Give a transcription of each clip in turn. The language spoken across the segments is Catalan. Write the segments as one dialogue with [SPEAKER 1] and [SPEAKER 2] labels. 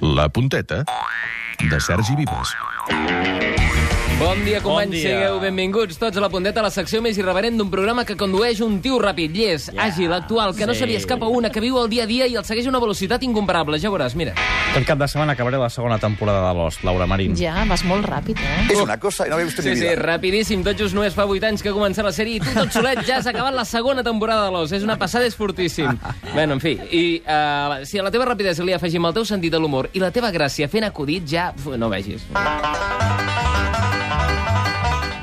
[SPEAKER 1] La punteta de Sergi Vives.
[SPEAKER 2] Bon dia, companys,
[SPEAKER 3] Bon
[SPEAKER 2] bon
[SPEAKER 3] dia.
[SPEAKER 2] sigueu benvinguts tots a la punteta, la secció més irreverent d'un programa que condueix un tio ràpid, llest, àgil, actual, que no
[SPEAKER 3] Sí.
[SPEAKER 2] se li escapa una, que viu el dia a dia i el segueix a una velocitat incomparable. Ja ho veuràs, mira.
[SPEAKER 3] Aquest cap de setmana acabaré la segona temporada de Lost, Laura Marín.
[SPEAKER 4] Ja, vas molt ràpid, eh?
[SPEAKER 5] Es una cosa que no había visto en
[SPEAKER 2] Sí,
[SPEAKER 5] mi
[SPEAKER 2] sí,
[SPEAKER 5] vida.
[SPEAKER 2] rapidíssim. Tot just només fa 8 anys que ha començat la sèrie i tu tot solet ja has acabat la segona temporada de l'Os. És una passada, és fortíssim. Bueno, en fi, i uh, si a la teva rapidesa li afegim el teu sentit de l'humor i la teva gràcia fent acudit, ja pf, no ho vegis.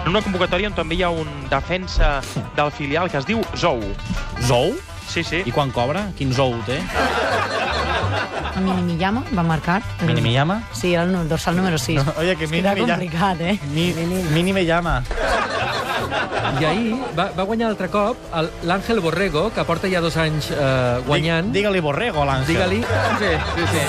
[SPEAKER 6] En una convocatòria on també hi ha un defensa del filial que es diu Zou.
[SPEAKER 3] Zou?
[SPEAKER 6] Sí, sí.
[SPEAKER 3] I quan cobra? Quin zou té?
[SPEAKER 4] Minimiyama va marcar.
[SPEAKER 3] Minimiyama?
[SPEAKER 4] Sí, el nu- dorsal número 6.
[SPEAKER 3] Oye, que
[SPEAKER 4] Era complicat, eh?
[SPEAKER 3] Mi, mini me llama.
[SPEAKER 7] I ahir va, va guanyar altre cop el- l'Àngel Borrego, que porta ja dos anys eh, guanyant.
[SPEAKER 3] Dig- Digue-li borrego, a l'Àngel.
[SPEAKER 7] Digue-li...
[SPEAKER 2] Sí, sí, sí.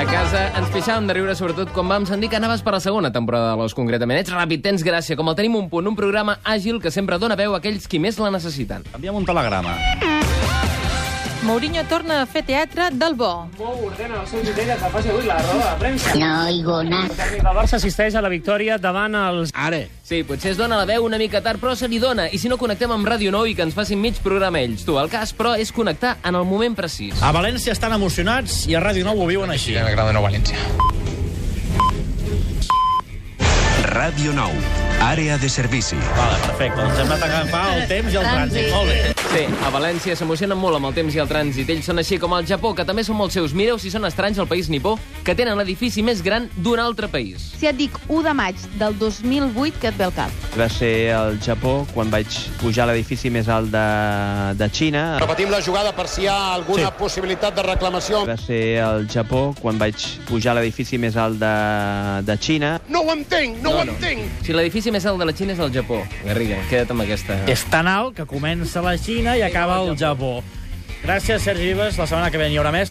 [SPEAKER 2] A casa ens pixàvem de riure, sobretot quan vam sentir que anaves per la segona temporada de l'Os, concretament. Ets ràpid, tens gràcia, com el tenim un punt, un programa àgil que sempre dona veu a aquells qui més la necessiten.
[SPEAKER 3] Envia'm un telegrama.
[SPEAKER 8] Mourinho torna a fer teatre del bo.
[SPEAKER 9] No oigo nada.
[SPEAKER 10] El Barça assisteix a la victòria davant els...
[SPEAKER 2] Sí, potser es dona la veu una mica tard, però se li dona. I si no connectem amb Ràdio 9 i que ens facin mig programa ells. Tu, el cas, però, és connectar en el moment precís.
[SPEAKER 3] A València estan emocionats i a Ràdio 9 ho viuen així.
[SPEAKER 1] Ràdio 9, àrea de servici.
[SPEAKER 3] Vale, perfecte. Ens hem anat a agafar el temps i el trànsit. Molt bé.
[SPEAKER 2] Sí, a València s'emocionen molt amb el temps i el trànsit. Ells són així com al Japó, que també són molt seus. Mireu si són estranys al país nipó, que tenen l'edifici més gran d'un altre país.
[SPEAKER 8] Si et dic 1 de maig del 2008, que et ve al cap?
[SPEAKER 10] Va ser al Japó, quan vaig pujar a l'edifici més alt de, de Xina.
[SPEAKER 5] Repetim la jugada per si hi ha alguna sí. possibilitat de reclamació.
[SPEAKER 10] Va ser al Japó, quan vaig pujar a l'edifici més alt de, de Xina.
[SPEAKER 5] No ho entenc, no, no ho entenc.
[SPEAKER 2] Si l'edifici més alt de la Xina és el Japó. Garriga, queda't amb aquesta.
[SPEAKER 3] És tan alt que comença la Xina i acaba el Japó. Gràcies, Sergi Vives. La setmana que ve n'hi haurà més.